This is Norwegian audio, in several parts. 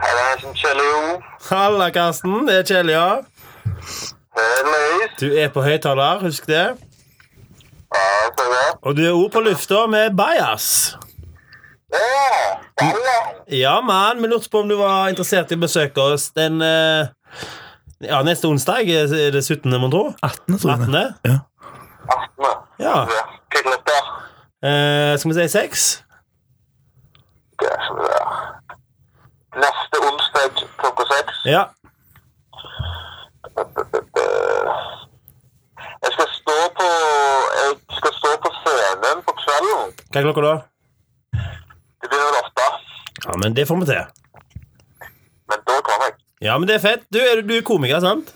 Karsten Kjellio. Halla, Karsten. Det er Kjell, ja. Helløys. Du er på høyttaler, husk det. Ja, så bra. Og du er òg på lufta med bajas. Ja, halla. Ja, mann. Vi lurte på om du var interessert i å besøke oss den eh, Ja, neste onsdag er det 17., mon tro? 18, tror jeg. 18. det. Ja. Astma. Ja. Ja, Klokka. Eh, skal vi si seks? Det er så bra. Neste onsdag klokka seks. Ja. Jeg skal stå på Jeg skal stå på scenen på kvelden. Hva er klokka da? Det blir vel åtte. Ja, men det får vi til. Men da kommer jeg. Ja, men det er fett. Du er, du er komiker, sant?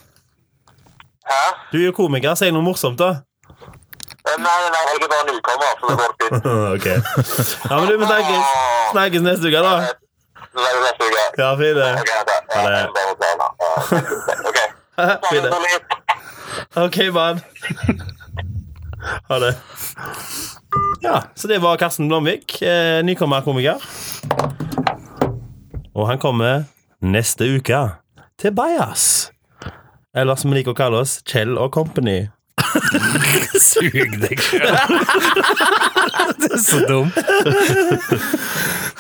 Hæ? Du er komiker. Si noe morsomt, da. Eh, Nei, nei, jeg er bare nykommer, så det går fint. ok. Ja, men du, vi snakkes, snakkes neste uke, da. Det er neste uke. Ja, fint det. Ok, da. Ha det. Jeg må bare ta den, da. Eh, Ok. Fint det. Litt. Ok, mann. Ha det. Ja, så det var Karsten Blomvik, eh, nykommer komiker. Og han kommer neste uke til Bajas. Eller som vi liker å kalle oss, Kjell og Company. Sug deg sjøl. det er så dumt.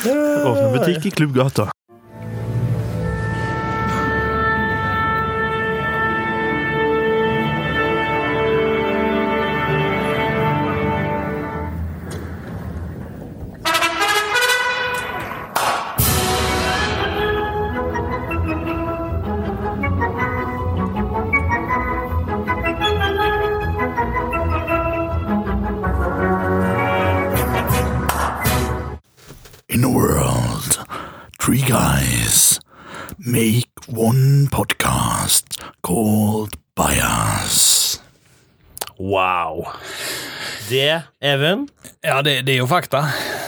Åpne butikk i Klubbgata. In the world, three guys make one podcast called Bias. Wow. Det, Even, Ja, det, det er jo fakta.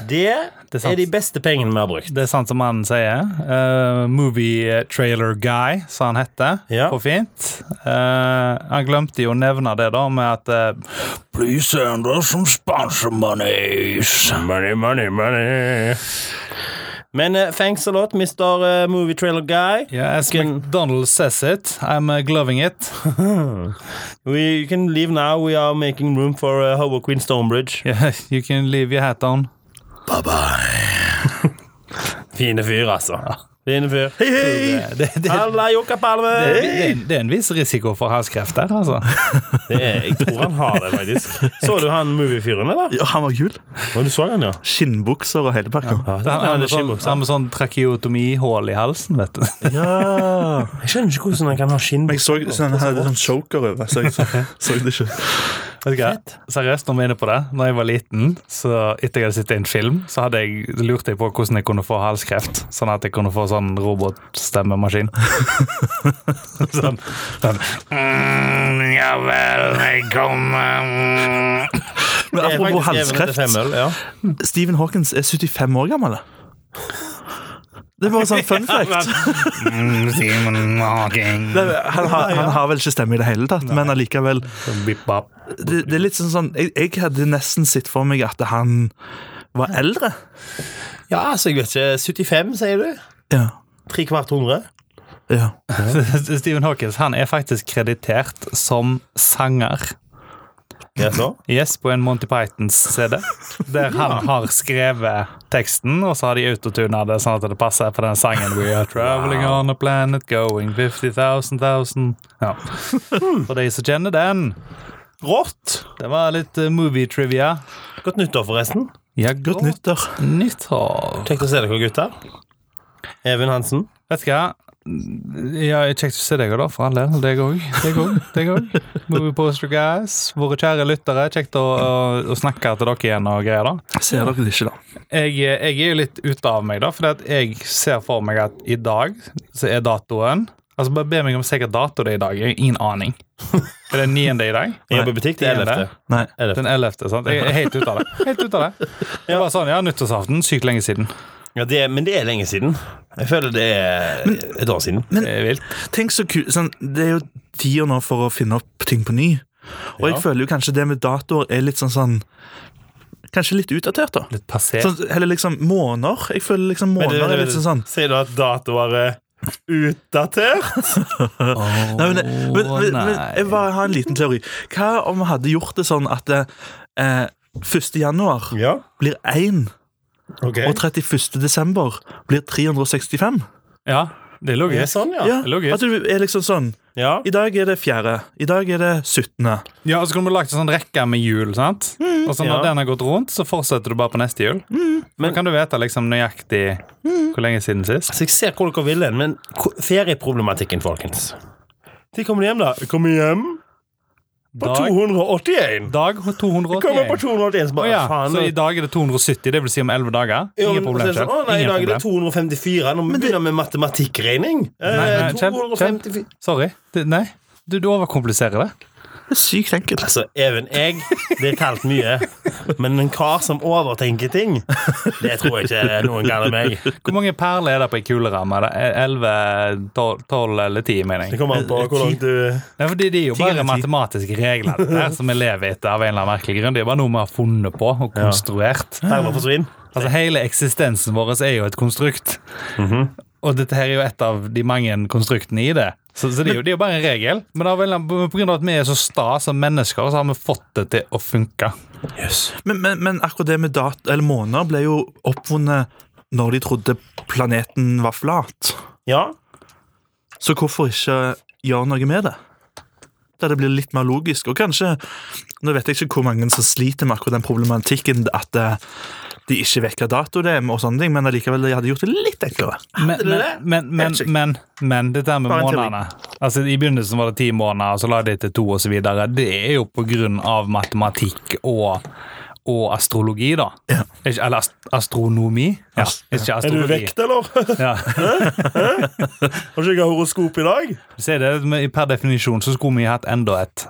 det, sant. er de beste pengene vi har brukt. Det er sant som han sier. Eh, movie Trailer Guy, som han heter. Ja. På fint. Eh, han glemte jo å nevne det, da, med at eh, Please send us some sponsor monies. Money, money, money. Men eh, thanks a lot, Mr. eh, movie Trailer Guy. yeah, As Can- McDonald says it, I'm uh, gloving it. We you can leave now. We are making room for uh, Hobo Queen Stonebridge. Yeah, you can leave your hat on. Fine fyr, altså. Fine fyr. Hei, hei! Det, det, det, Halla, Jokka Palme! Eh, det, det er en viss risiko for halskreft der, altså. Det er, jeg tror han har det, faktisk. Så du han moviefyren, eller? Ja, han var kul. Å, du så han, ja? Skinnbukser og hele pakka. Ja, det Han er har han med det sånn, skinnbuksa. han med sånn tracheotomihull i halsen, vet du. Ja. Jeg skjønner ikke hvordan han kan ha Jeg så skinnbukse. sånn, han hadde sånn choker over, så jeg så, så det ikke. Vet du hva? Seriøst, når vi er inne på det Når jeg var liten, så etter jeg hadde sett en film, så hadde jeg lurt jeg på hvordan jeg kunne få halskreft. Sånn at jeg kunne få sånn robotstemmemaskin. sånn, sånn. Mm, ja vel, jeg kommer mm. Men Det er apropos faktisk Even etter halskreft. femmøl, Ja. Stephen Hawkins er 75 år gammel. Det er bare sånn fun fact. Mm, Stephen Hawking. Det, er- han, har, han har vel ikke stemme i det hele tatt, men allikevel Bip, bap. det, det er litt sånn sånn jeg, jeg hadde nesten sett for meg at han var eldre. ja, altså, jeg vet ikke. 75, sier du? Ja. Tre kvart hundre? ja. Stephen Hawkins han er faktisk kreditert som sanger. Ja, så? Yes, på en Monty Pythons-CD. Der han har skrevet teksten, og så har de autotuna det sånn at det passer på den sangen We are traveling on a planet going 50,000 thousand Ja. For de som kjenner den. Rått! Det var litt eh, movie-trivia. Godt nyttår, forresten. Ja, godt Nyttår. nyttår. Kjekt å se dere, gutter. Even Hansen. Vet du hva? Ja, kjekt å se deg òg, da, for all del. Deg òg. Deg òg. Deg òg. Movie Poster Guys. Våre kjære lyttere. Kjekt å, å, å snakke til dere igjen og greier, da. Ser dere det ikke, da? jeg, jeg er jo litt ute av meg, da, for jeg ser for meg at i dag så er datoen Altså Bare be meg om sikker dato det er i dag. Jeg har ingen aning. Er det 9. i dag? Jeg jobber i butikk. Det er 11. Nei. Den 11., sant? Jeg er helt ute av det. Helt ute av det. Det var sånn, ja, Nyttårsaften. Sykt lenge siden. Ja, det, er- men det er lenge siden. Jeg føler det er et år siden. Det er vilt. Tenk så ku- sånn, Det er jo tida nå for å finne opp ting på ny. Og jeg Ja. føler jo kanskje det med datoer er litt sånn sånn Kanskje litt utdatert, da. Litt passé. Sånn, eller liksom måneder. Jeg føler liksom Men du, måneder er du, litt sånn sånn Sier du at datoer er Utdatert? Nei, men, men, men, men nei. jeg bare har en liten teori. Hva om vi hadde gjort det sånn at eh, eh, 1. januar Ja. blir 1, ok og 31. desember blir 365? Ja, det er Det er logisk. sånn, ja. Ja, logisk. at du er liksom sånn Ja. I dag er det 4., i dag er det 17. Ja, og så kunne du lagt en sånn rekke med hjul, sant? og så når Mm. Ja. Mm. den har gått rundt, så fortsetter du bare på neste hjul. Men Men- da kan du vite liksom nøyaktig Mm. hvor lenge siden sist. Så jeg ser hvor dere vil hen, men ko- ferieproblematikken, folkens. De kommer hjem, da. Jeg Kommer hjem på Dag- 281. Dag Jeg Kommer på 281. 281 så Å bare, ja, faen. så i nå- dag er det 270, det vil si om 11 dager. Jo, Ingen men så er problem. det sånn, Kjell. Å nei, i Ingen dag er det problem. 254. Nå begynner vi med matematikkregning. Eh, Nei, nei, Kjell, Kjell. 254. Sorry. Du, nei, du, du overkompliserer det. Det er sykt enkelt. Altså, even jeg blir kalt mye, men en kar som overtenker ting, det tror jeg ikke noen kaller meg. Hvor mange perler er det på ei kuleramme? Er det 11, 12, 12 eller 10, mener Det jeg? kommer an på hvor langt du Nei, fordi Det er jo Ti eller bare ti. matematiske regler dette her, som vi lever etter av en eller annen merkelig grunn. Det er bare noe vi har funnet på og konstruert. Perler forsvinner. Altså Hele eksistensen vår er jo et konstrukt. Og dette her er jo et av de mange konstruktene i det. Så, så det, er jo, det er jo bare en regel. Men av en eller annen- på grunn av at vi er så sta som mennesker, så har vi fått det til å funke. Men, men, men akkurat det med dat eller måneder ble jo oppfunnet når de trodde planeten var flat. Ja. Så hvorfor ikke gjøre noe med det? Der det blir litt mer logisk. Og kanskje Nå vet jeg ikke hvor mange som sliter med akkurat den problematikken at eh, de ikke vekker dato, det, og sånne ting, men allikevel de hadde gjort det litt enklere. Men, men, det? men, men, Helt sykt. men, men dette her med Bare en teori. månedene Altså I begynnelsen var det ti måneder, og så la de til to osv. Det er jo på grunn av matematikk og, og astrologi, da. Ikke, eller ast astronomi. Ja, ikke Er du astrologi. vekt, eller? Ja. Har du ikke jeg horoskop i dag? Så er det, men per definisjon så skulle vi hatt enda et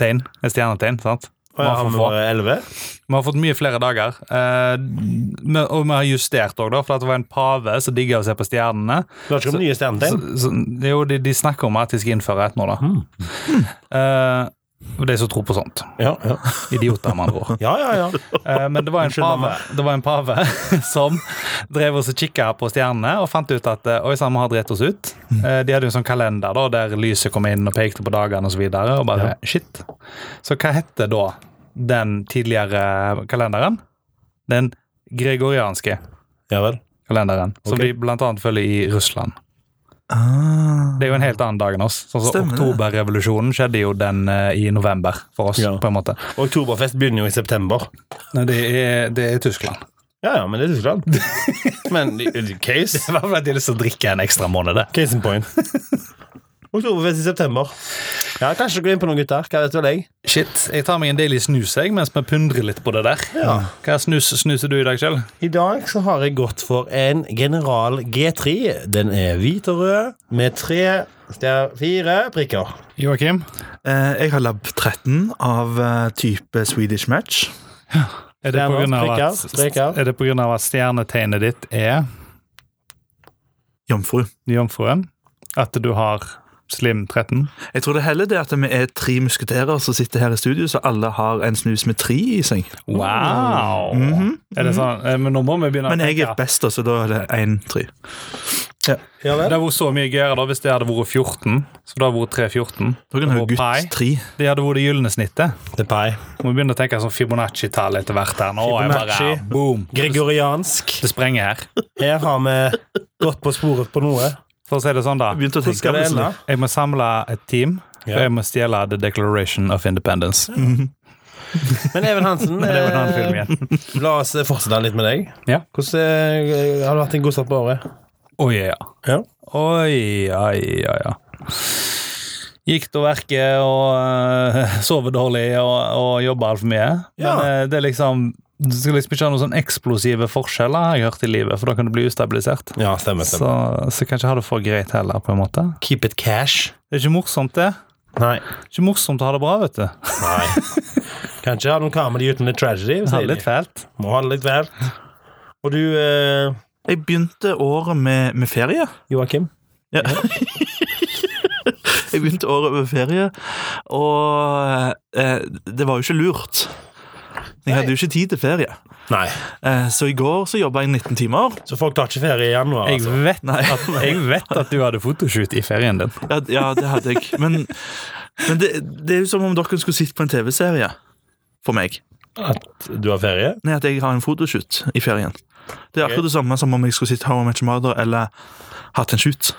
tegn. Et stjernetegn, sant? Å ja, Man får har vi få. bare 11? Vi har fått mye flere dager, eh, men- og vi har justert òg, for at det var en pave som digga å se på stjernene. Du har ikke om nye stjernetegn? Så, så, det er jo, de, de snakker om at de skal innføre et nå, da. Mm. Eh, og de som tror på sånt. Ja, ja. Idioter, med andre ord. ja, ja, ja. Eh, men det var en Unnskyld, pave, mamma. det var en pave som drev oss og kikka på stjernene og fant ut at eh, oi sann, vi har dritt oss ut. Eh, De hadde jo en sånn kalender da, der lyset kom inn og pekte på dagene og så videre. Og bare shit. Så hva heter da den tidligere kalenderen? Den gregorianske ja vel. kalenderen, som Ok. de blant annet følger i Russland. Ah. Det er jo en helt annen dag enn oss. Sånn som Stemmer det. Oktoberrevolusjonen skjedde jo den eh, i november for oss, Ja. på en måte. Oktoberfest begynner jo i september. Nei, det er, det er Tyskland. Ja, ja, men det er Tyskland. Men i- i case I hvert fall at de har lyst til å drikke en ekstra måned. det. Case in point. Oktoberfest i september. Ja, Kanskje du går inn på noen gutter. Hva vet vel jeg? Shit, jeg tar meg en deilig snus jeg, mens vi pundrer litt på det der. Hva snus, snuser du i dag, Kjell? I dag så har jeg gått for en General G3. Den er hvit og rød med tre stjer- fire prikker. Joakim? Eh, jeg har lab 13 av eh, type Swedish match. Er det, på Stjerner, grunn av at, prikker, streker. er det på grunn av at stjernetegnet ditt er Jomfru. jomfruen? At du har slim 13? Jeg tror det er heller det at vi er tre musketerer som sitter her i studio, så alle har en snus med tre i seg. Wow! Er det sånn? Eh, Men nå må vi begynne å Mhm. Men jeg er tenke. best, så da er det én tre. Ja Det vel? hadde vært så mye gøyere da hvis det hadde vært 14. Så det hadde vært 3-14. Da kan du ha Og pai. gutt tre. Det hadde vært det gylne snittet. Det er pai. Må begynne å tenke sånn Fibonacci-tall etter hvert her. Nå er jeg bare Fibonacci. boom. Gregoriansk. Det sprenger her. Her har vi gått på sporet på noe. For å si det sånn, da. Begynte å Hvor tenke skal det ende? plutselig. Jeg må samle et team, for Ja. jeg må stjele The Declaration of Independence. Men Even Hansen, Det var en annen film eh, igjen. la oss fortsette litt med deg. Ja. Hvordan eh, har det vært en god start på året? Oi, ja. Ja. Oi, ja, ja, ja. Gikk til verke og uh, sove dårlig og, og jobba altfor mye. Ja. Men eh, det er liksom du skal liksom ikke ha noen sånn eksplosive forskjeller har jeg hørt i livet, for da kan du bli ustabilisert. Ja, stemmer. Så, så kanskje ha det for greit heller, på en måte. Keep it cash. Det er ikke morsomt, det. Nei. Ikke morsomt å ha det bra, vet du. Nei. Kan ikke ha noen comedy uten litt tragedy. Ha sier det de. litt fælt. Må ha det litt vel. Og du, eh, Jeg begynte året med, med ferie. Joakim? Ja. jeg begynte året med ferie, og eh, det var jo ikke lurt. Jeg hadde jo ikke tid til ferie. Nei. Eh, Så i går så jobba jeg 19 timer. Så folk tar ikke ferie i januar, Jeg altså? vet, Nei. at, jeg vet at du hadde fotoshoot i ferien din. Ja, d- ja det hadde jeg. Men, men det, det er jo som om dere skulle sett på en TV-serie for meg. At du har ferie? Nei, at jeg har en fotoshoot i ferien. Det er Ok. akkurat det samme som om jeg skulle sitte How I Met Your Mother eller hatt en shoot.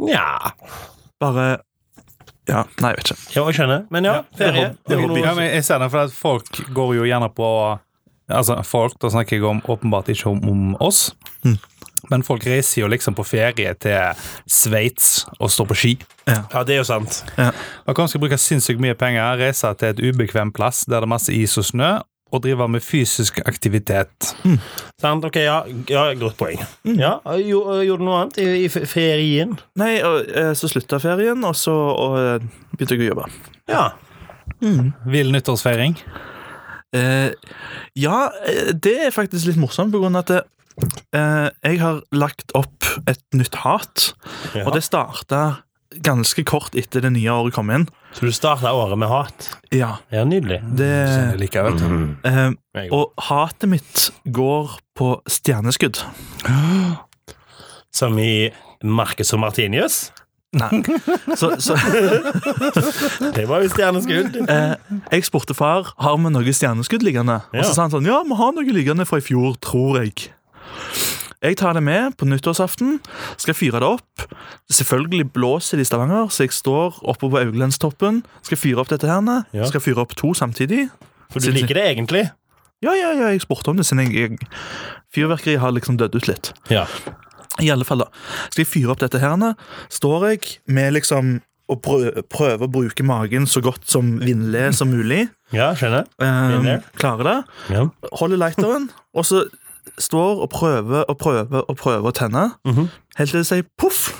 Nja Bare Ja, nei, jeg vet ikke. Jo, jeg skjønner. Men ja, ferie. det er Har vi hobby. Ja, noe- men jeg ser det, for at folk går jo gjerne på Altså, folk, da snakker jeg om åpenbart ikke om, om oss. Hm. Men folk reiser jo liksom på ferie til Sveits og står på ski. Ja, det er jo sant. Og kan skal bruke sinnssykt mye penger, reise til et ubekvem plass der det er masse is og snø, og drive med fysisk aktivitet. Sant, ok, ja, ja Godt poeng. Ja, Mm. jo, Gjorde du noe annet i, i fe- ferien? Nei, og, eh, så slutta ferien, og så og, eh, begynte jeg å jobbe. Ja. Vill nyttårsfeiring. Eh, ja, eh, det er faktisk litt morsomt, på grunn av at eh, jeg har lagt opp et nytt hat. Ja. Og det starta ganske kort etter det nye året kom inn. Så du starta året med hat? Ja, Ja, nydelig. det, Likevel. eh, Jeg Og hatet mitt går på stjerneskudd. Som i Marcus og Martinius. Nei. Så, så Det var jo stjerneskudd. eh, jeg spurte far har vi noe stjerneskudd liggende. Og Ja. så sa han sånn ja, vi har noe liggende fra i fjor, tror jeg. Jeg tar det med på nyttårsaften, skal fyre det opp. Selvfølgelig blåser det i Stavanger, så jeg står oppe på Augelendstoppen. Skal fyre opp dette her, Ja. skal fyre opp to samtidig. For du liker det egentlig? Ja, ja, ja, jeg spurte om det, siden jeg, jeg Fyrverkeri har liksom dødd ut litt. Ja. I alle fall da Skal jeg fyre opp dette her nå? Står jeg med liksom Og prø- prøver å bruke magen så godt som vindlig som mulig Ja, skjønner. um, Vindlig. Klarer det Ja. Holder lighteren Og så står og prøver og prøver og prøver å tenne Mhm. Helt til det sier puff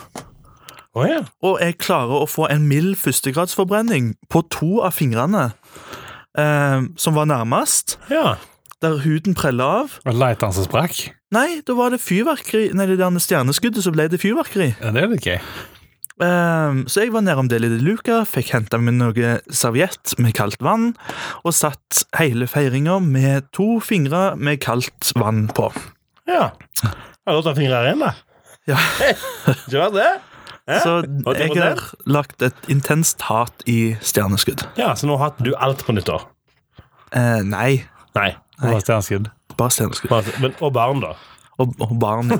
Å ja. Og jeg klarer å få en mild førstegradsforbrenning På to av fingrene um, Som var nærmest ja. Der huden preller av Og lighteren som sprakk. Nei, da var det fyrverkeri Nei, det der stjerneskuddet så ble det fyrverkeri Ja, det er litt gøy. Ehm, Så jeg var nede om det lille luka, fikk henta meg noe serviett med kaldt vann, og satt hele feiringa med to fingre med kaldt vann på. ja. Har du tatt fingrer igjen, da? Ja. Ikke verst, det? Så og det jeg var har det? lagt et intenst hat i stjerneskudd. Ja, så nå har du alt på nyttår. Eh, nei, Nei. Det var stjerneskudd. bare stjerneskudd. bare- Men, og barn, da? Og, og barn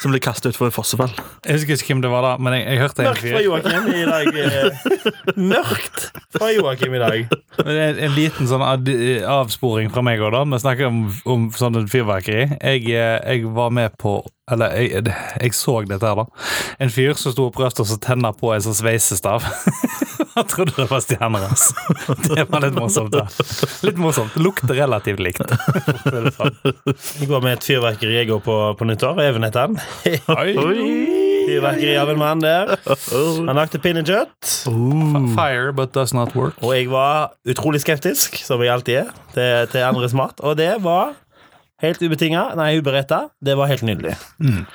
som ble kasta utfor et fossefall. Jeg husker ikke hvem det var da, men jeg, jeg hørte en Mørkt fra fyr. Joakim i dag. eh. Mørkt fra Joakim i dag. Men en, en liten sånn ad, avsporing fra meg òg, da. Vi snakker om, om sånn fyrverkeri. Jeg, eh, jeg var med på Eller jeg, jeg så dette her, da. En fyr som sto og prøvde å tenne på en sånn sveisestav. Han trodde det var stjerner, altså. Det var litt morsomt. da Litt morsomt. Lukter relativt likt. Det er sant. Jeg går med et fyrverkeri jeg går på på nyttår. Even heter han. Oi. Fyrverkeri av en mann der. Han lagde pinnekjøtt. Fire but does not work. Og jeg var utrolig skeptisk, som jeg alltid er, til, til andres mat. Og det var helt ubetinga, nei, uberetta. Det var helt nydelig.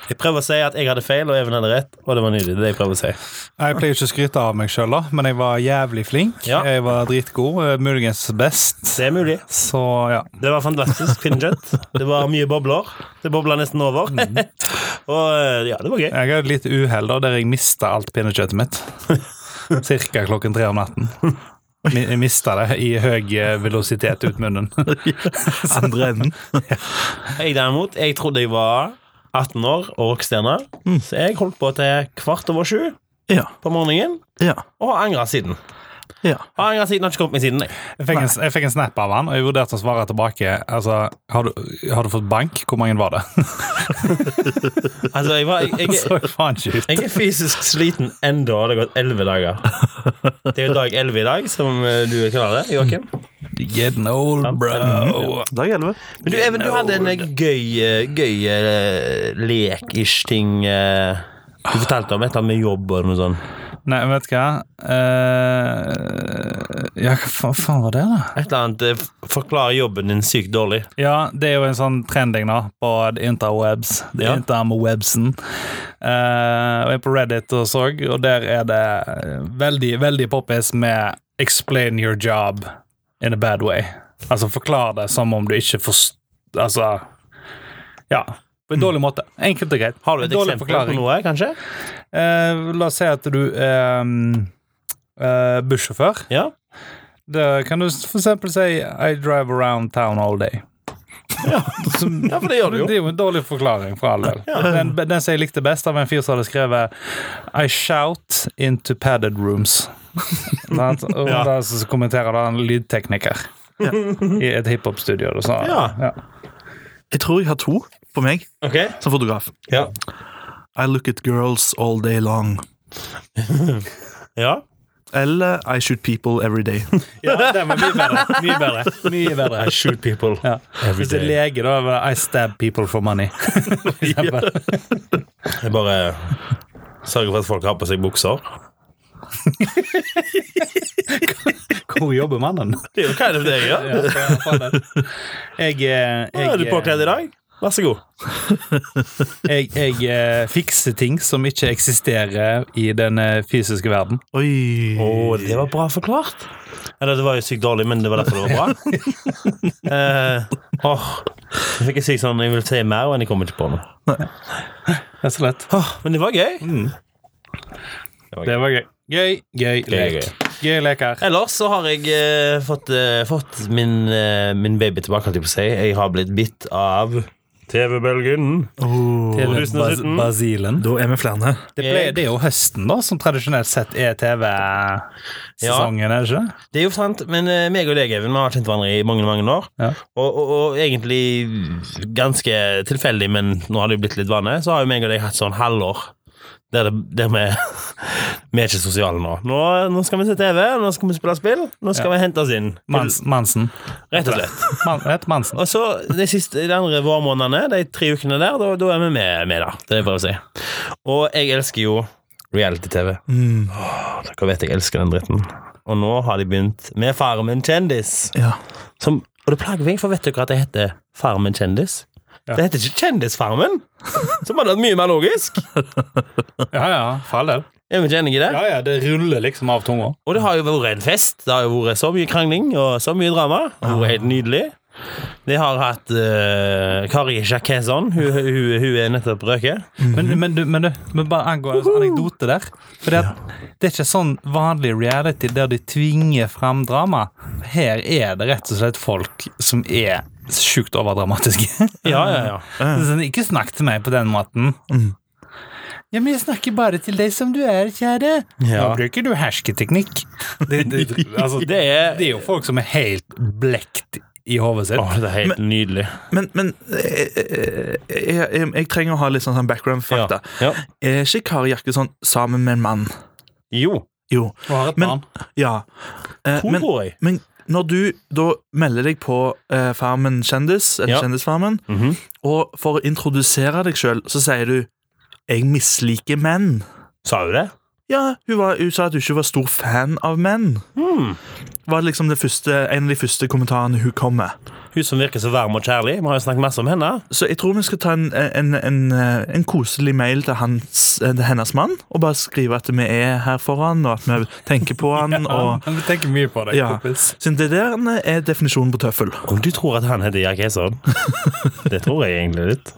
Jeg prøver å si at jeg hadde feil, og Even hadde rett, og det var nydelig. Det er det jeg prøver å si. Jeg pleier ikke å skryte av meg sjøl, men jeg var jævlig flink. Ja. Jeg var dritgod. eh, Muligens best. Det er mulig. Så ja. Det var fantastisk pinnekjøtt. Det var mye bobler. Det bobla nesten over. og eh, ja, det var gøy. Jeg hadde litt uhell da, der jeg mista alt pinnekjøttet mitt. Cirka klokken tre om natten. Mi- Jeg mista det i høy eh, velositet ut munnen. Andre enden. Jeg derimot, jeg trodde jeg var 18 år og rockestjerne, så jeg holdt på til kvart over sju Ja. på morgenen, Ja. og har angra siden. ja. Har angra siden, har ikke kommet meg siden. jeg. Jeg fikk, en, jeg fikk en snap av han, og jeg vurderte å svare tilbake. Altså, har du, har du fått bank? Hvor mange var det? Altså, jeg, var, jeg, jeg, Så faen ikke ut. Jeg er fysisk sliten enda, og det har gått elleve dager. Det er jo dag elleve i dag, som eh, du kaller det, Joakim. Getting old, bro. Dag 11. Men du, Even, du hadde en eh, gøy, eh, gøy eh, lek-ish-ting eh, du fortalte om. Et eller annet med jobb og noe sånt. Nei, vet du hva Eh, Ja, hva faen, faen var det, da? Et eller annet eh, forklarer jobben din sykt dårlig. Ja, det er jo en sånn trending da på the interwebs. The Ja. interwebsen. Eh, og jeg er på Reddit og så, og der er det eh, veldig, veldig poppis med 'explain your job in a bad way'. Altså, forklar det som om du ikke forstår Altså Ja. På en dårlig måte. Enkelt og greit. Mm. Har du En et dårlig eksempel på noe, kanskje? Eh, la oss si at du er mm, eh, bussjåfør. Ja. Da kan du for eksempel si I drive around town all day. Som- ja, for det gjør du jo. Det er jo en dårlig forklaring for all del. Den, den som jeg likte best, av en fyr som hadde skrevet I shout into padded rooms. Sant? Og Ja. da så kommenterer da en lydtekniker i et hiphop-studio. og så- Ja. Jeg tror jeg har to på meg Ok. som fotograf. Ja. I look at girls all day long. ja. Eller I shoot people every day. Ja, den var mye bedre. Mye bedre. Mye bedre. I shoot people. Ja. Every Hvis det er day. lege, da var det I stab people for money. For eksempel. Jeg bare sørger for at folk har på seg bukser. Hvor jobber mannen? Det er jo kind of det jeg gjør. Ja, for faen. jeg, eh, jeg, Hva er du påkledd i dag? Vær så god. Jeg, jeg eh, fikser ting som ikke eksisterer i den eh, fysiske verden. Oi. Å, det var bra forklart. Eller det var jo sykt dårlig, men det var derfor det var bra. Eh, åh, jeg fikk jeg si sånn Jeg vil si mer, men jeg kommer ikke på noe. Det er så lett. Åh, men det var gøy. Det var gøy. Gøy, gøy, Gøy, lek. Gøy leker. Ellers så har jeg eh, fått, eh, fått min, eh, min baby tilbake, holdt jeg på å si. Jeg har blitt bitt av TV-bølgen. Åh. Til 2017. Bas Basilen. Da er vi flere. Det, ble, det er jo høsten, da, som tradisjonelt sett er TV-sesongen, er det ikke det? Det er jo sant, men eh, meg og deg, Even, vi har kjent hverandre i mange mange år. Ja. Og, og, og egentlig ganske tilfeldig, men nå har det jo blitt litt vane, så har jo meg og deg hatt sånn halvår der, det, der vi, vi er ikke sosiale nå. nå. Nå skal vi se TV, nå skal vi spille spill, nå skal vi hente oss inn. Mans, Mansen. Rett og slett. Man, det heter Mansen. Og så de siste, de andre vårmånedene, de tre ukene der, da, da er vi med, med da. Det er bare å si. Og jeg elsker jo reality-TV. Åh, Dere vet jeg elsker den dritten. Og nå har de begynt med Farmen kjendis. Ja. Som, og det plager meg, for vet dere at det heter Farmen kjendis? Ja. Det heter ikke Kjendisfarmen, som hadde vært mye mer logisk. Ja, ja, for all del. Er vi ikke enige i det? Ja, ja, det ruller liksom av tunga. Og det har jo vært en fest. Det har jo vært så mye krangling og så mye drama. Det har vært helt nydelig. De har hatt eh, Kari Jacquesson. Hun, hun, hun er nettopp røket. Men, men, du, men, du, men bare angående en anekdote der Fordi at Det er ikke sånn vanlig reality der de tvinger fram drama. Her er det rett og slett folk som er sjukt overdramatiske. Ja, ja, ja. sånn, ikke snakk til meg på den måten. Ja, men jeg snakker bare til deg som du er, kjære. Nå Ja. bruker du hersketeknikk. Det, det, altså, det, Det er, er jo folk som er helt blekt i hodet sitt. Åh, det er helt nydelig. Men, men jeg, jeg, jeg, jeg trenger å ha litt sånn sånn background-fakta. Ja. Er ikke Kari Jakkesson sammen med en mann? Jo. Jo. Og har et Men- barn. Ja. Eh, Hun men, tror jeg. men når du da melder deg på eh, Farmen kjendis, eller Ja. Kjendisfarmen, Mhm. og for å introdusere deg sjøl, så sier du 'jeg misliker menn'. Sa hun det? Ja, hun, var, hun sa at hun ikke var stor fan av menn. Hmm. Var liksom det første, en av de første kommentarene hun kom med. Hun som virker så varm og kjærlig. Vi har jo snakket masse om henne. Så jeg tror vi skal ta en, en, en, en koselig mail til, hans, eh, til hennes mann og bare skrive at vi er her for han, og at vi tenker på han. og, Vi tenker mye på det, Ja. kompis. så det der er definisjonen på tøffel. Om du tror at han heter Jakeson? Det tror jeg egentlig litt.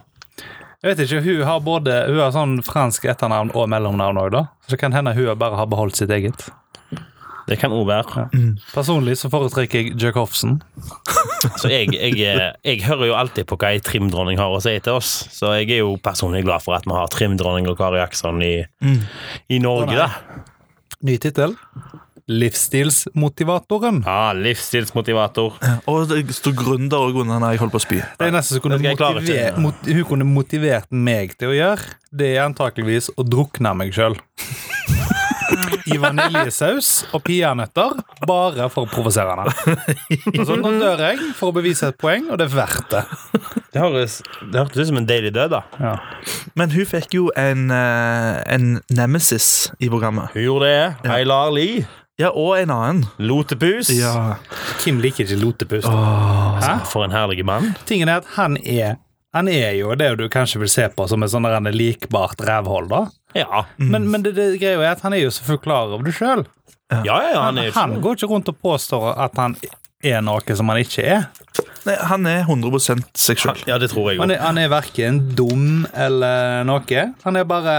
Jeg vet ikke, Hun har både, hun har sånn fransk etternavn og mellomnavn òg, da. Så det kan hende hun bare har beholdt sitt eget. Det kan òg være. Personlig så foretrekker jeg Jacobsen. Så jeg, jeg, eh, jeg hører jo alltid på hva ei trimdronning har å si til oss. Så jeg er jo personlig glad for at vi har trimdronning og Kari Jackson i, Mm. i Norge, da. Ny tittel. Livsstilsmotivatoren. Ja, livsstilsmotivator. Og det sto gründer og grunner når jeg holdt på å spy. Det er nesten som kunne Det skal jeg klare motiver- til. mot, hun kunne motivert meg til å gjøre. Det er antakeligvis å drukne meg sjøl. I vaniljesaus og peanøtter, bare for å provosere henne. Og Så nå dør jeg for å bevise et poeng, og det er verdt det. Det høres det hørtes ut som en deilig død, da. Ja. Men hun fikk jo en, eh, en nemesis i programmet. Hun gjorde det. Aylar Lie. Ja, og en annen. Lotepus. Kim liker ikke lotepust. Hæ? For en herlig mann. Tingen er at han er han er jo det du kanskje vil se på som et sånn der en likbart rævhold, da. Ja. Mm. Men, men det, det greia er at han er jo så full klar over det sjøl. Ja, ja, ja, han er Han går ikke rundt og påstår at han er noe som han ikke er. Nei, han er 100 seg sjøl. Ja, det tror jeg Han òg. er, han er verken dum eller noe. Han er bare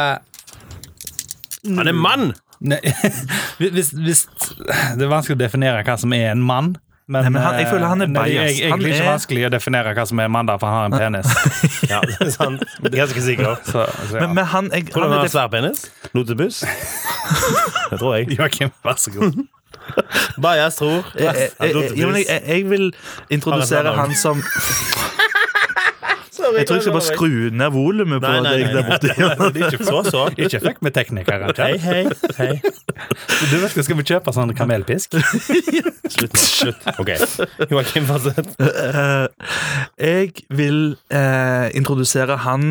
Han er mann! Nei, hvis, hvis, Det er vanskelig å definere hva som er en mann. Men, Nei, men han- jeg føler han er eh, nei, det biased. eg- Han egentlig ikke er- vanskelig å definere hva som er en mann, da, for han har en penis. Ja, det er sant. Ganske sikker. Så, så ja. Men, men han, jeg, Tror du han han er har def- svær penis? Notebuss? Det tror jeg. Joakim, vær så god. Bajas tror jeg, jeg, at jeg, eh, ja, men jeg, eh, notebuss- jeg- jeg vil Han er introdusere svær han som Jeg tror jeg skal bare skru ned volumet på Nei, nei, deg nei, der borte. Så, så. Ikke fuck med teknikeren. Hei, Kjell. hei, hei. Du vet, Skal vi kjøpe sånn kamelpisk? Slutt nå. Slutt. OK. Joakim, fortsett. Eh, jeg vil eh, introdusere han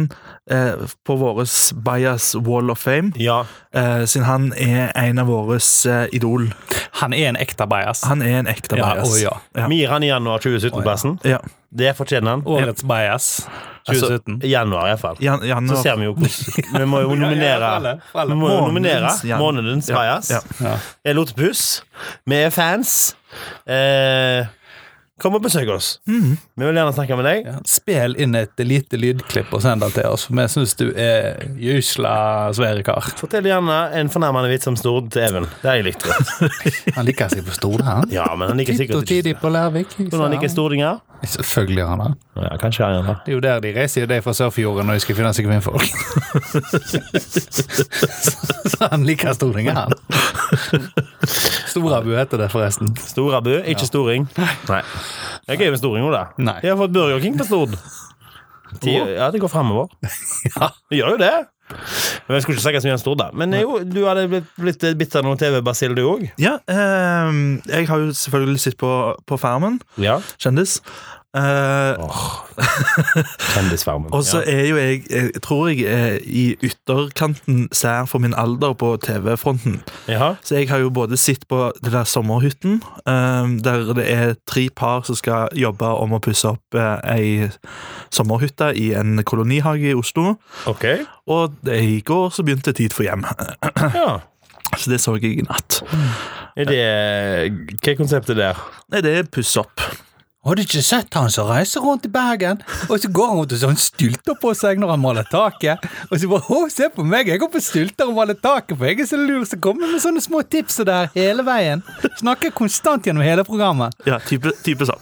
eh, på vår Bias Wall of Fame, Ja. eh, siden han er en av våre eh, idol. Han er en ekte bajas. Han er en ekte Ja, Bias. å ja. Ja. Miran i januar 2017-plassen. Ja. Det fortjener han. Årets bajas 2017. Altså, januar, iallfall. Jan, Jan, Så ser vi jo hvordan Vi må jo nominere. for alle, for alle. Vi må jo nominere Månedens, ja. månedens Ja, bajas. ja. Ja. Jeg lot puss. Vi er fans. Eh, kom og besøk oss. Vi vil gjerne snakke med deg. Ja. Spill inn et lite lydklipp og send det til oss, for vi syns du er jusla svære kar. Fortell gjerne en fornærmende vits om Stord til Even. Det har jeg likt godt. Han liker seg på store, han. Ja, men han liker Titt sikkert og ikke tidlig på Lærvik. ikke Når han liker sant? stordinger? Selvfølgelig har han det. Ja, kanskje han gjør det. Det er jo der de reiser, de er fra Sørfjorden, og de skal finne seg kvinnfolk. Så han liker Stortinget, han. Storabu heter det, forresten. Storabu, ikke storing. Nei. Det er gøy med storing, Ola. Nei. De har fått Burger King på Stord. De, ja, det går framover. Ja. Det gjør jo det. Men Jeg skulle ikke snakke så mye om Stord, da. Men jo, du hadde blitt, blitt bitt av noe TV, Basil, du òg? ja ehm, jeg har jo selvfølgelig sett på, på Farmen, Ja. kjendis. Eh, Kjendisfarmen. og så Ja. er jo jeg, jeg tror jeg er i ytterkanten sær for min alder på TV-fronten. Jaha. Så jeg har jo både sett på det der sommerhytten, ehm, der det er tre par som skal jobbe om å pusse opp eh, ei sommerhytte i en kolonihage i Oslo. Ok. Og det, i går så begynte Tid for hjem, Ja. så det så jeg i natt. Er det Hva er konseptet der? Nei, det er puss opp. Har du ikke sett han som reiser rundt i Bergen? Og så går han rundt og så har han stylter på seg når han maler taket. Og så bare, å, se på meg, jeg går på stylter og maler taket, for jeg er så lur, så kommer jeg med sånne små tips og der hele veien. Snakker konstant gjennom hele programmet. Ja, type, type sånn.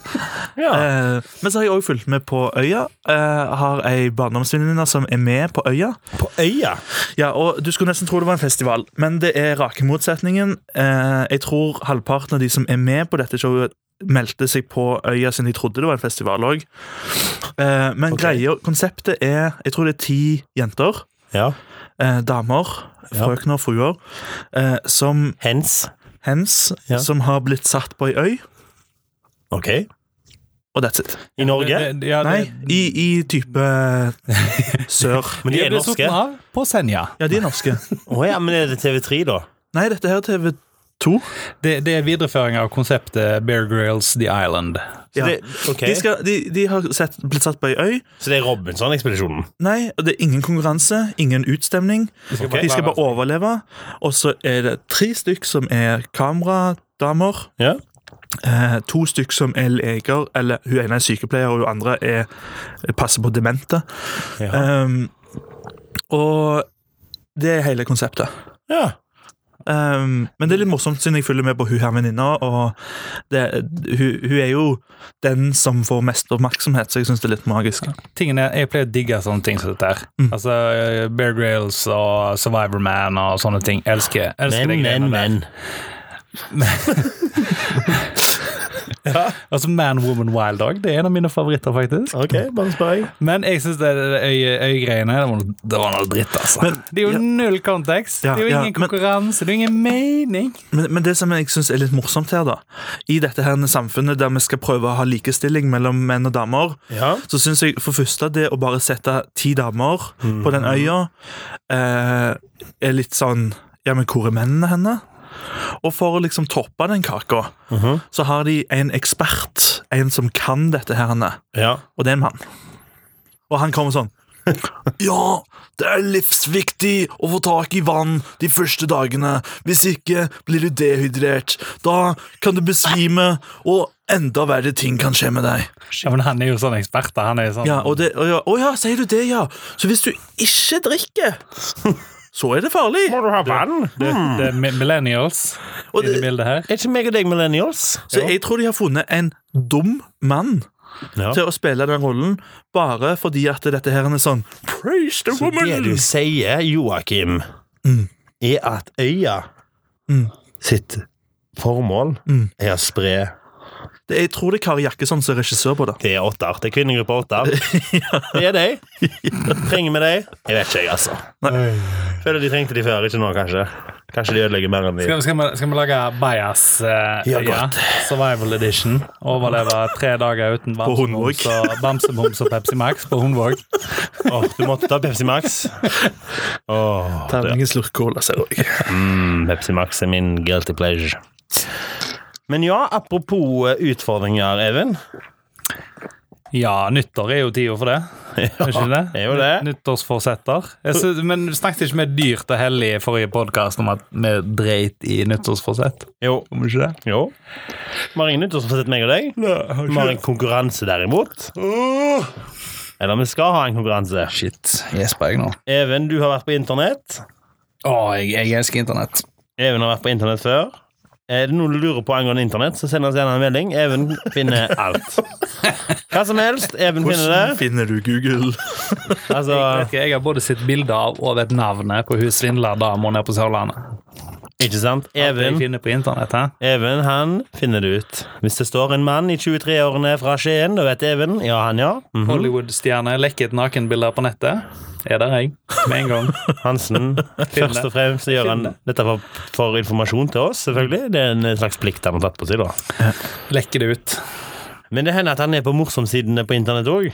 Ja. Eh, men så har jeg òg fulgt med på Øya. Eh, har ei barndomsvenninne som er med på Øya. På øya? Ja, og Du skulle nesten tro det var en festival, men det er rake motsetningen. Eh, jeg tror halvparten av de som er med på dette showet, meldte seg på Øya siden de trodde det var en festival òg. Eh, men Ok. greia, konseptet er Jeg tror det er ti jenter. Ja. Eh, damer. Ja. Frøkner og fruer. Eh, som Hens. hens Ja. som har blitt satt på ei øy. Ok. Og that's it. I Norge? Nei, i, i type sør. Men de er norske? Å På Senja. Ja, de er norske. ja, men er det TV3, da? Nei, dette her er TV2. Det, det er videreføring av konseptet Bear Grylls The Island. Så Ja. det, ok. De, skal, de, de har sett, blitt satt på ei øy. Så det er Robinson-ekspedisjonen? Nei, og det er ingen konkurranse, ingen utstemning. Ok. De skal bare overleve. Og så er det tre stykk som er kameradamer. Ja. Eh, to stykk som er leger, eller hun ene er sykepleier, og hun andre er, passer på demente. Ja. Um, og det er hele konseptet. ja. Um, men det er litt morsomt, siden jeg følger med på hun her venninna. Og det, hun, hun er jo den som får mest oppmerksomhet, så jeg syns det er litt magisk. Tingene, jeg pleier å digge sånne ting som dette her. Mm. Altså eh, Bear Grylls og Survivor Man og sånne ting. Elsker, elsker Men, de greiene men, der. men. Altså Man, Woman, Wild Dog. Det er en av mine favoritter, faktisk. Ok, bare spør jeg. Men jeg syns det det øye- øyegreiene det, var noe- det var noe dritt, altså. Men- det er jo ja. null kontekst. Ja, det er jo ja, ingen men- konkurranse. Det er jo ingen mening. Men, men det som jeg syns er litt morsomt her, da I dette her samfunnet der vi skal prøve å ha likestilling mellom menn og damer, Ja. så syns jeg for første det å bare sette ti damer på den øya eh, er litt sånn Ja, men hvor er mennene henne? Og for å liksom toppe den kaka, så har de en ekspert, en som kan dette her, henne, ja. og det er en mann. Og han kommer sånn Ja, det er livsviktig å få tak i vann de første dagene. Hvis ikke blir du dehydrert. Da kan du besvime, og enda verre ting kan skje med deg. Ja, men han er jo sånn ekspert. da. Han er jo sånn Ja, og det, og ja, Å ja, sier du det, ja. Så hvis du ikke drikker, så er det farlig. Må du ha vann? det, det er mi- millennials Hmm. Og i det det, bildet her. Er ikke meg og deg millennials? så jeg tror de har funnet en dum mann Ja. til å spille den rollen, bare fordi at dette her er sånn Praise the Så det du woman! sier, Joakim, Mm. er at øya Mm. sitt formål Mm. er å spre Det, jeg tror det er Kari Jakkesson som er regissør på det. Det er åtter. Det er kvinnegruppa åtter. Det er deg. Trenger vi deg? Jeg vet ikke, jeg, altså. Føler de trengte de før, ikke nå, kanskje. Kanskje de ødelegger mer enn de Skal, vi- skal, vi, skal vi lage Bajas eh, Ja, øya? Survival Edition. Overleve tre dager uten Hundvåg. bamsemums og, bamsemums og Pepsi Max på Hundvåg. Åh, Du måtte ta Pepsi Max. Åh, det- Terningens lurkehål, ser jeg. mm, Pepsi Max er min guilty pleasure. Men ja, apropos eh, utfordringer, Even. Ja, nyttår er jo tida for det. Er ikke det? det er jo det. Nyttårsforsetter. Jeg sy- men vi snakket ikke med dyrt og hellig i forrige podkast om at vi dreit i nyttårsforsett? Jo. Om ikke det? Jo. Marine, du har sett meg og deg. Vi har en konkurranse, derimot. Eller vi skal ha en konkurranse. Shit, gjesper jeg nå? Even, du har vært på internett. Å, jeg, jeg elsker internett. Even har vært på internett før. Er det noe du lurer på angående internett, så send oss gjerne en melding. Even finner alt. Hva som helst. Even Hvordan finner det. finner du Google? Altså, Jeg, vet ikke, jeg har både sett bilder av og vet navnet på hun svindlerdama nede på Sørlandet. ikke sant? Alt jeg Even, finner på internett, hæ? Even, han finner det ut. Hvis det står en mann i 23-årene fra Skien, da vet Even. Ja, han, ja. Mhm. Hollywood-stjerne lekket nakenbilder på nettet. Er der jeg, med en gang. Hansen. Først og fremst så gjør han dette for, for informasjon til oss, selvfølgelig. Det er en slags plikt han har tatt på seg, da. Lekker det ut. Men det hender at han er på morsomsidene på internett òg.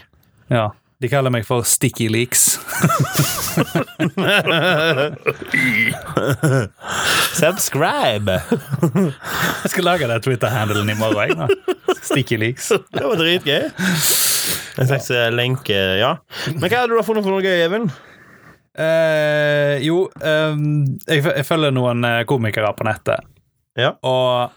Ja. De kaller meg for Sticky Leaks. Subscribe! Jeg skal lage det Twitter-handelen i morgen. jeg, da. Sticky leaks. Det var dritgøy. En slags eh, lenke, ja. Men hva har du da funnet for noe gøy, Even? Eh, jo, ehm, jeg, f- jeg følger noen eh, komikere på nettet. Ja. Og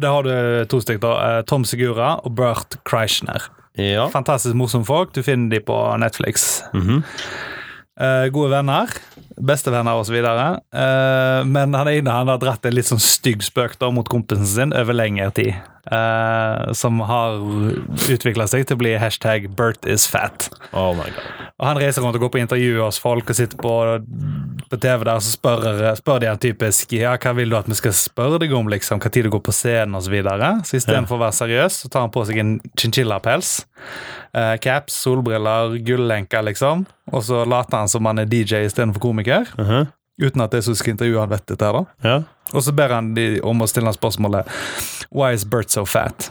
der har du to stykker. da. Eh, Tom Segura og Bert Kreishner. Ja. Fantastisk morsomme folk. Du finner de på Netflix. Mhm. Eh, gode venner. Bestevenner osv. Uh, men han ene han har dratt en litt sånn stygg spøk da mot kompisen sin over lengre tid. eh, som har utvikla seg til å bli hashtag 'Bert is fat'. Oh my god. Og han reiser rundt og går på intervju hos folk og sitter på, på TV der, så spør, spør de han typisk ja, hva vil du at vi skal spørre deg om, liksom, hva tid du går på scenen og Så, videre. så istedenfor å være seriøs, så tar han på seg en chinchilla-pels. eh, caps, solbriller, gullenker, liksom. Og så later han som han er DJ istedenfor komiker. Mhm. Uten at det som skal intervjue han vet dette her, da. Ja. Og så ber han de om å stille han spørsmålet Why is Bert so fat?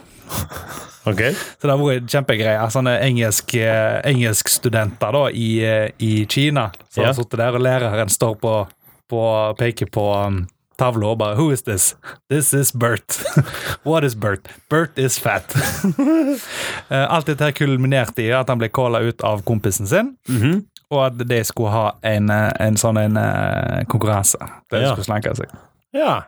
Ok. Så det har vært kjempegreier. Sånne engelske engelskstudenter da, i, eh, i Kina som Ja. har sittet der, og læreren står på, på peker på um, tavla og bare Who is this? This is Bert. What is Bert? Bert is fat. Eh, Alt dette her kulminerte i at han ble calla ut av kompisen sin. Mhm. Og at de skulle ha en, eh, en sånn en, eh, konkurranse der de Ja. skulle slanke seg. Ja.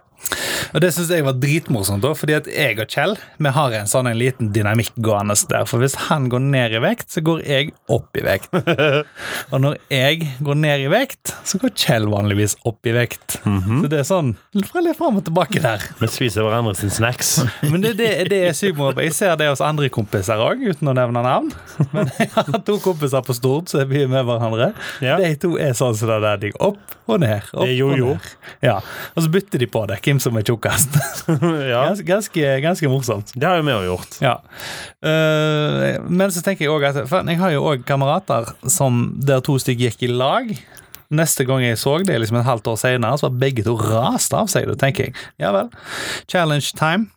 Og det syns jeg var dritmorsomt, da, fordi at jeg og Kjell vi har en sånn en liten dynamikk gående der. For hvis han går ned i vekt, så går jeg opp i vekt. Og når jeg går ned i vekt, så går Kjell vanligvis opp i vekt. Mhm. Så det er sånn fra litt fram og tilbake der. Vi spiser hverandre sin snacks. Men det, det, det er sykt moro. Jeg ser det hos andre kompiser òg, uten å nevne navn. Men jeg har to kompiser på Stord som er mye med hverandre. Ja. De to er sånn som det der. De går opp og ned. Opp Det er jo-jo. og ned. Ja. Og så bytter de på det, hvem som er tjukkest. ja. Gans, ganske, ganske morsomt. Det har jo vi òg gjort. Ja. Eh, men så tenker jeg òg at faen, jeg har jo òg kamerater som der to stykker gikk i lag. Neste gang jeg så det, liksom et halvt år senere, så var begge to rast av seg. Da tenker jeg, ja vel. Challenge time.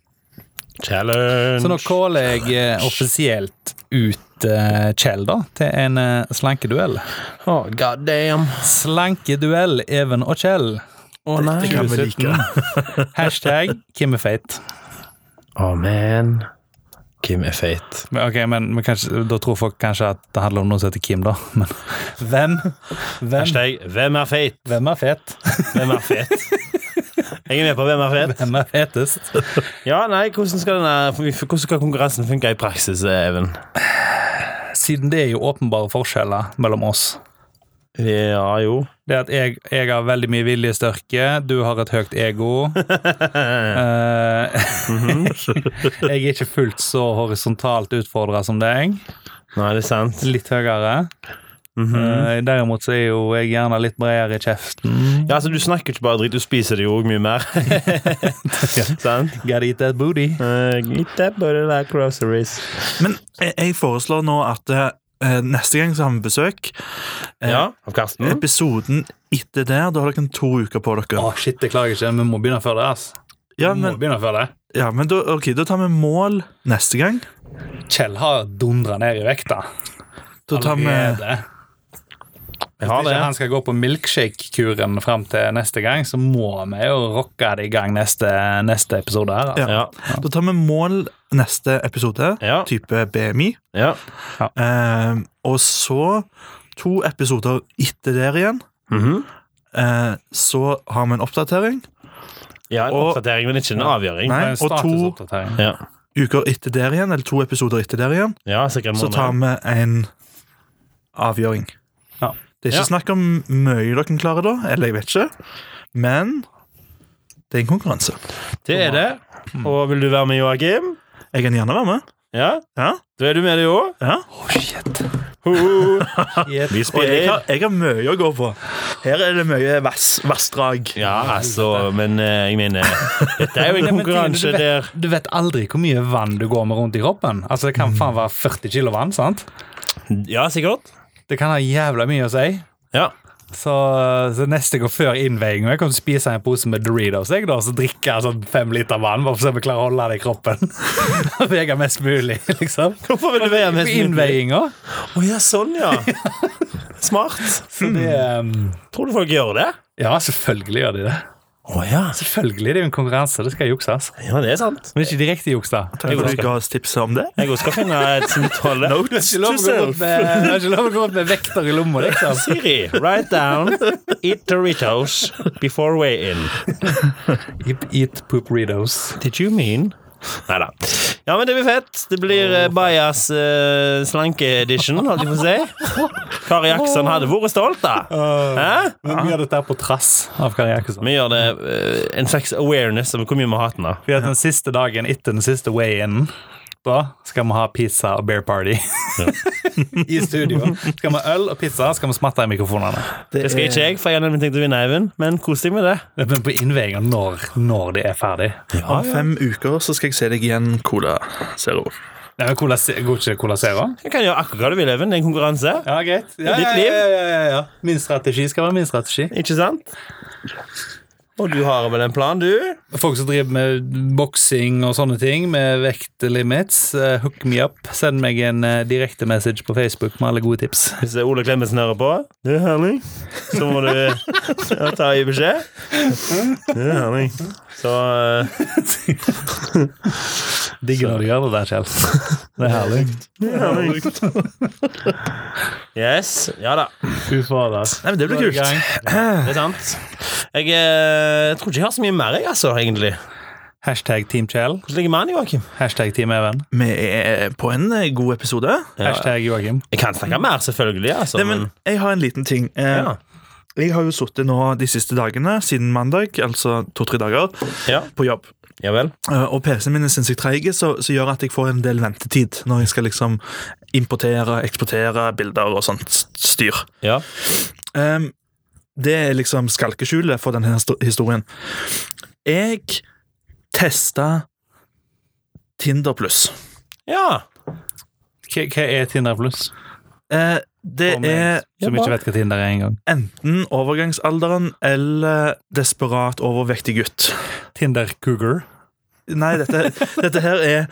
Challenge. Så nå caller jeg eh, offisielt ut eh, Kjell, da, til en eh, slankeduell. oh, god damn. Slankeduell Even og Kjell. Å nei. kan vi like. Hashtag Kim er feit. Å, man. Kim er feit. Men, ok, men, men kanskje, Da tror folk kanskje at det handler om noen som heter Kim, da. Men hvem? Hvem, Hashtag 'Hvem er feit?' hvem er fet? Hvem er fet? Jeg er med på hvem er fet. Hvem er fetest? Ja, nei, Hvordan skal, denne, hvordan skal konkurransen funke i praksis, eh, Even? Siden det er jo åpenbare forskjeller mellom oss. Ja, jo. Det at jeg, jeg har veldig mye viljestyrke, du har et høyt ego. Eh, jeg er ikke fullt så horisontalt utfordra som deg. Nei, det er sant. Litt høyere. Eh, derimot så er jo jeg gjerne litt bredere Mm. i kjeften. Ja, altså Du snakker ikke bare dritt, du spiser det jo òg mye mer. Sant? Gotta eat that booty. Eh, eat that butter like groceries. Men jeg, jeg foreslår nå at eh, neste gang så har vi besøk. Eh, Ja, av Karsten. Episoden etter der, da har dere to uker på dere. Å, shit, jeg klager ikke. Vi må begynne før det. ass. ja, Vi må men, begynne før det. ja, men da, ok, da tar vi mål neste gang. Kjell har dundra ned i vekta. Da tar vi Allerede. Jeg Hvis har ikke han det. skal gå på milkshake-kuren fram til neste gang, så må vi jo rocke det i gang neste, neste episode her. Altså. Ja, Da tar vi mål neste episode, Ja. type BMI. ja. Eh, og så to episoder etter der igjen. Mhm. Eh, så har vi en oppdatering. ja en Og- oppdatering, men ikke en avgjøring. Nei, Og og to statusoppdatering. Ja, uker etter der igjen, eller to episoder etter der igjen, ja sikkert en så måned. tar vi en avgjøring. Ja. Det er ikke Ja. snakk om mye dere klarer da, eller jeg vet ikke, men det er en konkurranse. Det er det. Mm. Og vil du være med, Joakim? Jeg kan gjerne være med. Ja? Ja, Da er du med, du Oh, òg. ja. Vi Og jeg har, spiller. jeg har mye å gå på. Her er det mye vass, vassdrag. Ja, altså, men eh, jeg mener Dette er jo en Nei, men konkurranse Trine, du der vet, du vet aldri hvor mye vann du går med rundt i kroppen. Altså Det kan faen være 40 kilo vann. sant? Ja, sikkert. Det kan ha jævla mye å si. Ja. Så, eh, så neste gang før innveiing Jeg kommer til å spise en pose med Doritos jeg, da, og så drikke jeg sånn fem liter vann. Bare for å se om jeg klarer å holde det i kroppen. Vege mest mulig, liksom. Hvorfor vil du være På med? innveiinga. Å ja, sånn, ja. Smart. Så det um, Tror du folk gjør det? Ja, selvfølgelig gjør de det. Å ja. Selvfølgelig, det er jo en konkurranse. Det skal jukses. Ja, det er sant. Men ikke direkte juks, da. Takk for at du ga oss tips om det. Jeg også skal finne et samtale. Notes Det to er ikke lov å self. gå rundt med- det er ikke lov å gå rundt med vekter i lomma, liksom. Siri, write down Eat Doritos before way in. Eat, eat poop reados. Did you mean? Nei da. Ja, men det blir fett. Det blir eh, Bajas eh, slanke-edition, holdt jeg på å si. Kari Jackson hadde vært stolt, da. Hæ? Men vi gjør dette her på trass av Kari Jakkesson. Vi gjør det eh, en slags awareness over hvor mye vi hater den. da. Vi har hatt den siste dagen etter den siste way-in. Da skal vi ha pizza og bear party. I studio. Skal vi ha øl og pizza, skal vi smatte i mikrofonene. Det skal ikke jeg, for jeg har nemlig tenkt å vinne, Eivind. Men kos deg med det. Men på innveiinga når, når det er ferdig. Om fem uker så skal jeg se deg igjen, Cola Zero. Nei, men cola, Se- Går ikke det Cola Zero? Du kan gjøre akkurat hva du vil, Eivind. Det er en konkurranse. Ja, greit. Ja, Ditt ja, liv? ja, ja, ja, ja. Min strategi skal være min strategi. Ikke sant? Og du har vel en plan, du? Folk som driver med boksing og sånne ting, med vektlimits, eh, hook me up. Send meg en eh, direkte message på Facebook med alle gode tips. Hvis det er Ole Klemetsen hører på, det er herlig. Så må du ja, ta i beskjed. Det er herlig. Så eh, Digger når du gjør det der, Kjell. Det er herlig. Yes. Ja da. Fy fader. Nei, men Det blir kult. Det er sant. Jeg, eh, jeg tror ikke jeg har så mye mer, jeg, altså, egentlig. Hashtag Team Kjell. Hvordan ligger vi an, Joakim? Hashtag Team Even. Vi er på en eh, god episode. Hashtag Joakim. Jeg kan snakke mer, selvfølgelig, altså, Nei, men men jeg har en liten ting. Eh, ja. Jeg har jo sittet nå de siste dagene, siden mandag, altså to-tre dager, Ja. på jobb. ja vel. Eh, Og PC-en min er sinnssykt treig, så, så gjør at jeg får en del ventetid når jeg skal liksom importere, eksportere bilder og sånt styr. Ja. Ehm, det er liksom skalkeskjulet for denne histo- historien. Jeg testa Tinder pluss. ja. Hva hva er Tinder pluss? Eh, det Om jeg er Som ikke vet hva Tinder er engang. enten overgangsalderen eller desperat overvektig gutt. Tinder Cougar. Nei, dette, dette her er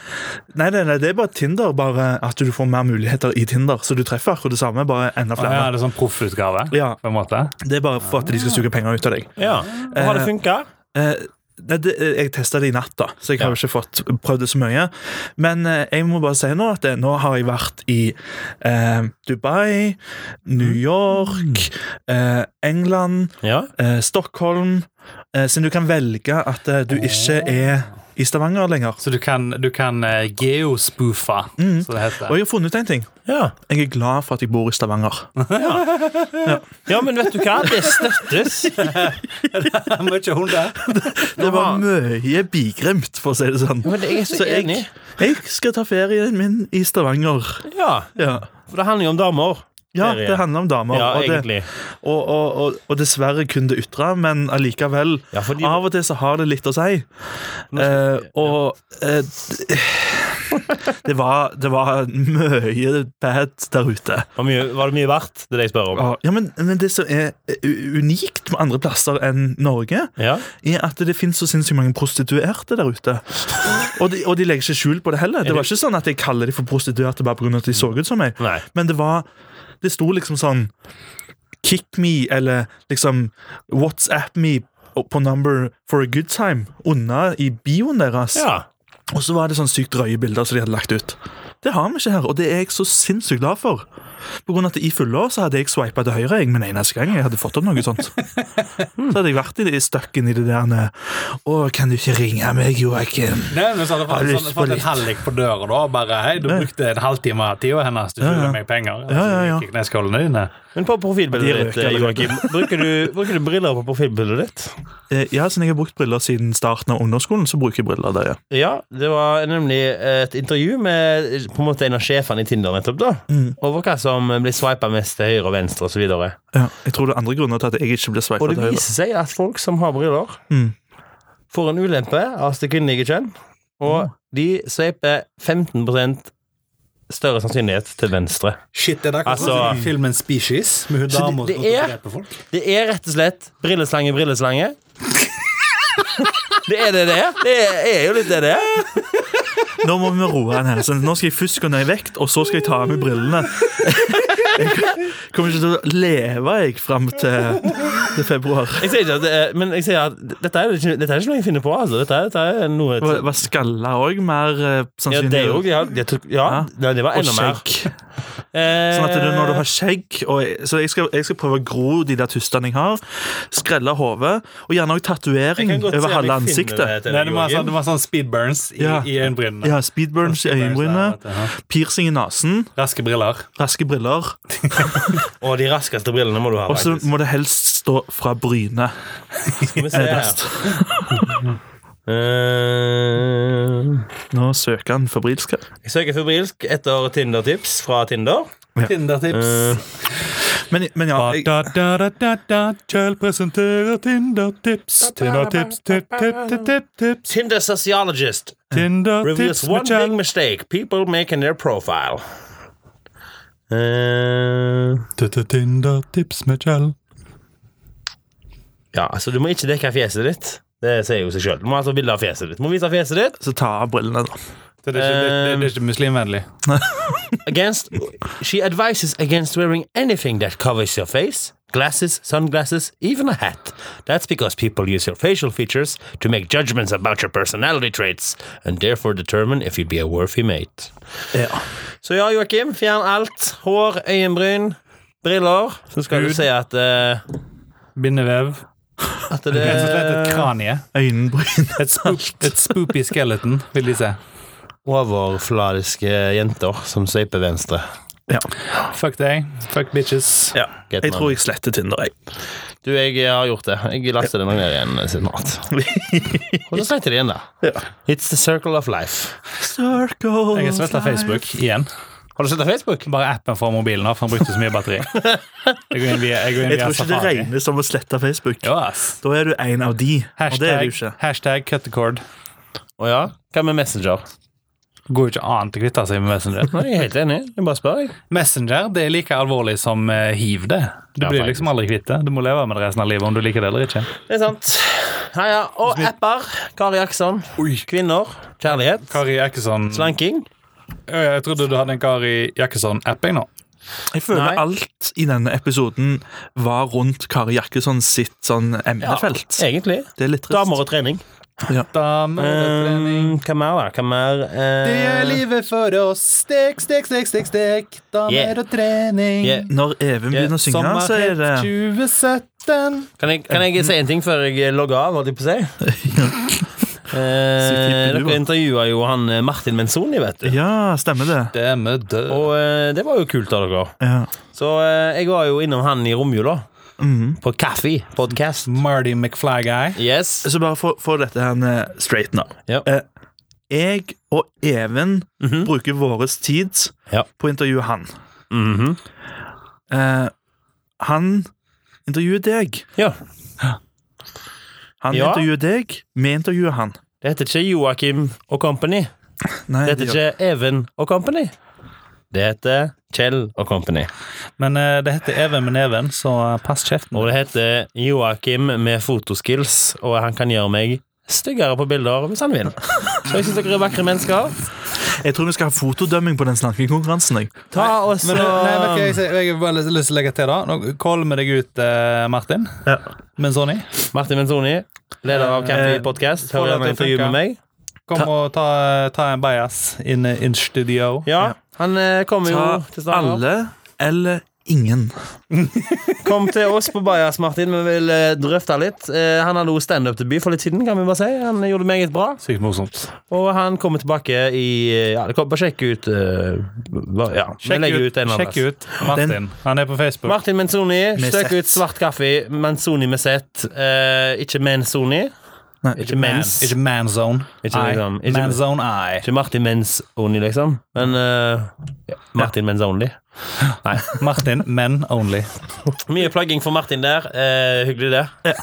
nei, nei, nei, det er bare Tinder, bare at du får mer muligheter i Tinder. Så du treffer akkurat det samme, bare enda Å, ja, flere. det er sånn proffutgave, Ja, på en måte. Det er bare for at de skal suge penger ut av deg. ja. Og har det funka? Eh, Nei, det, jeg testa det i natt, da, så jeg har Ja. jo ikke fått prøvd det så mye. Men eh, jeg må bare si nå at eh, nå har jeg vært i eh, Dubai, New Mm. York, eh, England, Ja. eh, Stockholm eh, Siden du kan velge at eh, du ikke er i Stavanger lenger. Så du kan, du kan eh, geospoofe, Mm. som det heter. Og jeg har funnet ut en ting. Ja. Jeg er glad for at jeg bor i Stavanger. ja, men vet du hva? Det støttes. Mye hunder. Det var mye bigrimt, for å si det sånn. Men jeg er så, Så jeg, enig. jeg skal ta ferien min i Stavanger. Ja, Ja, for det handler jo om damer. ja Ferie. det handler om damer. Ja, og det, egentlig. Og, og, og, og dessverre kun det ytre, men allikevel. Ja, fordi- Av og til så har det litt å si. Eh, og eh, d- det, var, det var mye bad der ute. Var, mye, var det mye verdt? Det er det jeg spør om. Ja, men, men det som er u- unikt med andre plasser enn Norge, Ja. er at det finnes så sinnssykt mange prostituerte der ute. Og de, og de legger ikke skjul på det heller. Det var ikke sånn at jeg kaller de for prostituerte bare pga. at de så ut som meg. Nei. Men det var Det sto liksom sånn Kick me, eller liksom WhatsApp me på number for a good time unna i bioen deres. Ja. Og så var det sånn sykt drøye bilder som de hadde lagt ut. Det har vi ikke her, og det er jeg så sinnssykt glad for. På grunn av at i fulle år så hadde jeg swipet til høyre jeg, med en eneste gang jeg hadde fått opp noe sånt. Så hadde jeg vært i det støkken i det der Å, kan du ikke ringe meg, Joakim? Nei, men så hadde Har jeg lyst fått, sånn, på fått litt. en hallik på døra da. Bare hei, du brukte en halvtime av tida hennes. Du Ja, ja. skylder meg penger. Ja, ja, ja. Jeg gikk ned skålene dine. Men på De profilbildet røker ditt, eh, allerede. Joakim, bruker du, bruker du briller på profilbildet ditt? Eh, Ja, siden jeg har brukt briller siden starten av ungdomsskolen, så bruker jeg briller der, ja. Ja, det var nemlig et intervju med på en måte en av sjefene i Tinder nettopp, da. Over hva som blir swipet mest til høyre og venstre osv. Og, så Ja, jeg tror det er andre grunner til at jeg ikke blir og sveipet det til høyre. viser seg at folk som har briller, Mm. får en ulempe av det kvinnelige kjønn, Mm. og de sveiper 15 større sannsynlighet til venstre. Shit, det der akkurat Altså- som i filmen Species, med hun Så dama det- som det er- dreper folk. Det er rett og slett brilleslange, brilleslange. Det er det det er. Det er jo litt det det er. Nå må vi roe den her. sånn. Nå skal jeg først gå ned i vekt, og så skal jeg ta av meg brillene. Jeg kommer ikke til å leve jeg fram til, til februar. Jeg sier ikke at det er men jeg sier at dette er, ikke, dette er ikke noe jeg finner på, altså. Dette er, dette er noe Var, var skalla òg mer eh, Ja, sannsynlig? det er jo ja, det tok, ja, Ja. nei, det var Og enda mer. skjegg. Eh, Sånn at det, er når du har skjegg og jeg, Så jeg skal, jeg skal prøve å gro de der tustene jeg har. Skrelle hodet, og gjerne òg tatovering over halve ansiktet. Nei, det var, sånn, altså- det var sånn speedburns i, Ja. i øyenbrynene. Ja, Speedburns i øyenbrynene, piercing i nesen, Raske briller. raske briller. Og de raskeste brillene må du ha. Og så faktisk. må det helst stå fra brynet. Skal vi se her. Eh, Nå søker han febrilsk. her. jeg søker febrilsk etter Tinder-tips fra Tinder. Eh, Tinder-tips. Men, men ja, jeg, Kjell presenterer Tinder-tips. Tinder-tips, tipp-tipp-tipp-tips. Tinder sociologist reveals Tinder-tips one med big Kjell. mistake people make in their profile. Eh, Tinder-tips med Kjell. ja, altså Du må ikke dekke fjeset ditt. Det sier jo seg sjøl. Du må ha et bilde av fjeset ditt. Du må vise fjeset ditt så ta av brillene, da. Så Det er ikke, det, det, det er ikke muslimvennlig. against she advises against wearing anything that covers your face glasses sunglasses even a hat that's because people use your facial features to make judgments about your personality traits and therefore determine if you'd be a worthy mate Ja. så ja Joakim fjern alt hår øyenbryn briller så skal du Hud. si at eh, Bindevev. at det Rett og slett et Eh. er kranie. Øyenbryn. Et, spoop, et spoopy skeleton, vil de se. overfladiske jenter som sveiper venstre Ja. Fuck deg. Fuck bitches. ja. Get Jeg man. tror jeg sletter Tinder, jeg. du jeg har gjort det jeg laster det nok ned igjen eh, siden mat og så sletter det igjen da it's the circle of life Circle Jeg har sletta Facebook igjen. Har du sett det på Facebook? Bare appen fra mobilen, da, for han brukte så mye batteri. Jeg går inn via, jeg går inn Jeg via tror ikke det Safari. regnes som å slette Facebook. Jo, ass. Da er du en av de. Og det er du Hashtag, ikke. hashtag cut the cord. Å ja? Hva med Messenger? Det går jo ikke an til å kvitte seg med Messenger. Nei, Jeg er helt enig. Jeg bare spør, jeg. Messenger det er like alvorlig som eh, hiv, det. Du Ja, blir faktisk. liksom aldri kvitt det. Du må leve med det resten av livet om du liker det eller ikke. Det er sant. Ja, ja. Og apper. Kari Jackson. Kvinner. Kjærlighet. Kari Jakkesson Slanking. Jeg trodde du hadde en Kari Jakkesson-app, jeg nå. Jeg føler Nei. alt i denne episoden var rundt Kari Jakkesson sitt sånn emnefelt. Egentlig. Det er litt trist. Damer og trening. Dametrening. Um, hva mer, da? Hva mer eh, Det er livet for oss. Stek, stek, stek, stek, stek. Damer Yeah. og trening. Yeah. Når Even begynner å synge, så er det 2017. Kan jeg, kan jeg si en ting før jeg logger av, holdt jeg på å si? eh, tipp i dere lua. intervjua jo han eh, Martin Menzoni, vet du. Ja, stemmer det. Demme død. Og eh, det var jo kult av dere. Ja. Så eh, jeg var jo innom han i romjula. Mhm. På Kaffe podcast. Marty McFly-guy. Yes. Så bare for, for dette her eh, straight nå. Ja. Mhm. Eh, jeg og Even bruker vår tid Ja. Mhm. på å intervjue han. Eh, han intervjuer deg. Ja. Han Ja. intervjuer deg, vi intervjuer han. Det heter ikke Joakim og Company. Nei, Det heter gjør- ikke Even og Company. Det heter Kjell og Company. Men eh, det heter Even med neven, så eh, pass kjeften. Og det heter Joakim med fotoskills, og han kan gjøre meg styggere på bilder hvis han vil. Så jeg syns dere er vakre mennesker. Jeg tror vi skal ha fotodømming på den snakkekonkurransen. jeg. Ta og så Men, eh, nei, vet du, hva, jeg, jeg, har bare lyst- lyst til å legge til, da. Nå kolmer deg ut, eh, Martin. Ja. Men Sonny, Martin Menzoni, leder av Campy Podcast, får hører det til gjerne intervju å funke. med meg. kom og ta, ta en bias in, in studio. Ja, han eh, kommer jo Ta til Stavanger. alle eller ingen. Kom til oss på Bajas, Martin. Vi vil eh, drøfte litt. Eh, han hadde også standup-debut for litt siden. kan vi bare si Han gjorde det meget bra. Sykt morsomt. Og han kommer tilbake i eh, Ja, det kommer bare sjekk ut eh, hva- Ja, vi Sjekk legger ut, ut en eller sjekk annen. plass. ut Martin. Han er på Facebook. Martin Menzoni, Med støkk sett. ut svart kaffe. Menzoni med sett. Eh, ikke Menzoni. Nei. Ikke mens. Man, ikke manzone. Ikke liksom- ikke- manzone eye. Ikke Martin Menzoni, liksom. Men eh, Martin Menzoni. Nei. Martin, men only. Mye plagging for Martin der. Eh, hyggelig, det.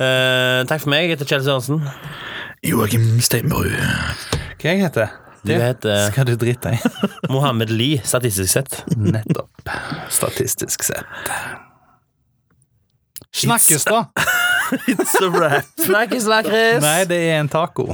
Eh, takk for meg. Jeg heter Kjell Sørensen. Joakim Steinberg. Hva jeg heter Du heter Skal du drite i? Mohammed Lee, statistisk sett. Nettopp. Statistisk sett. Snakkes, da! It's a wrap. Snakkes, lakris! Nei, det er en taco.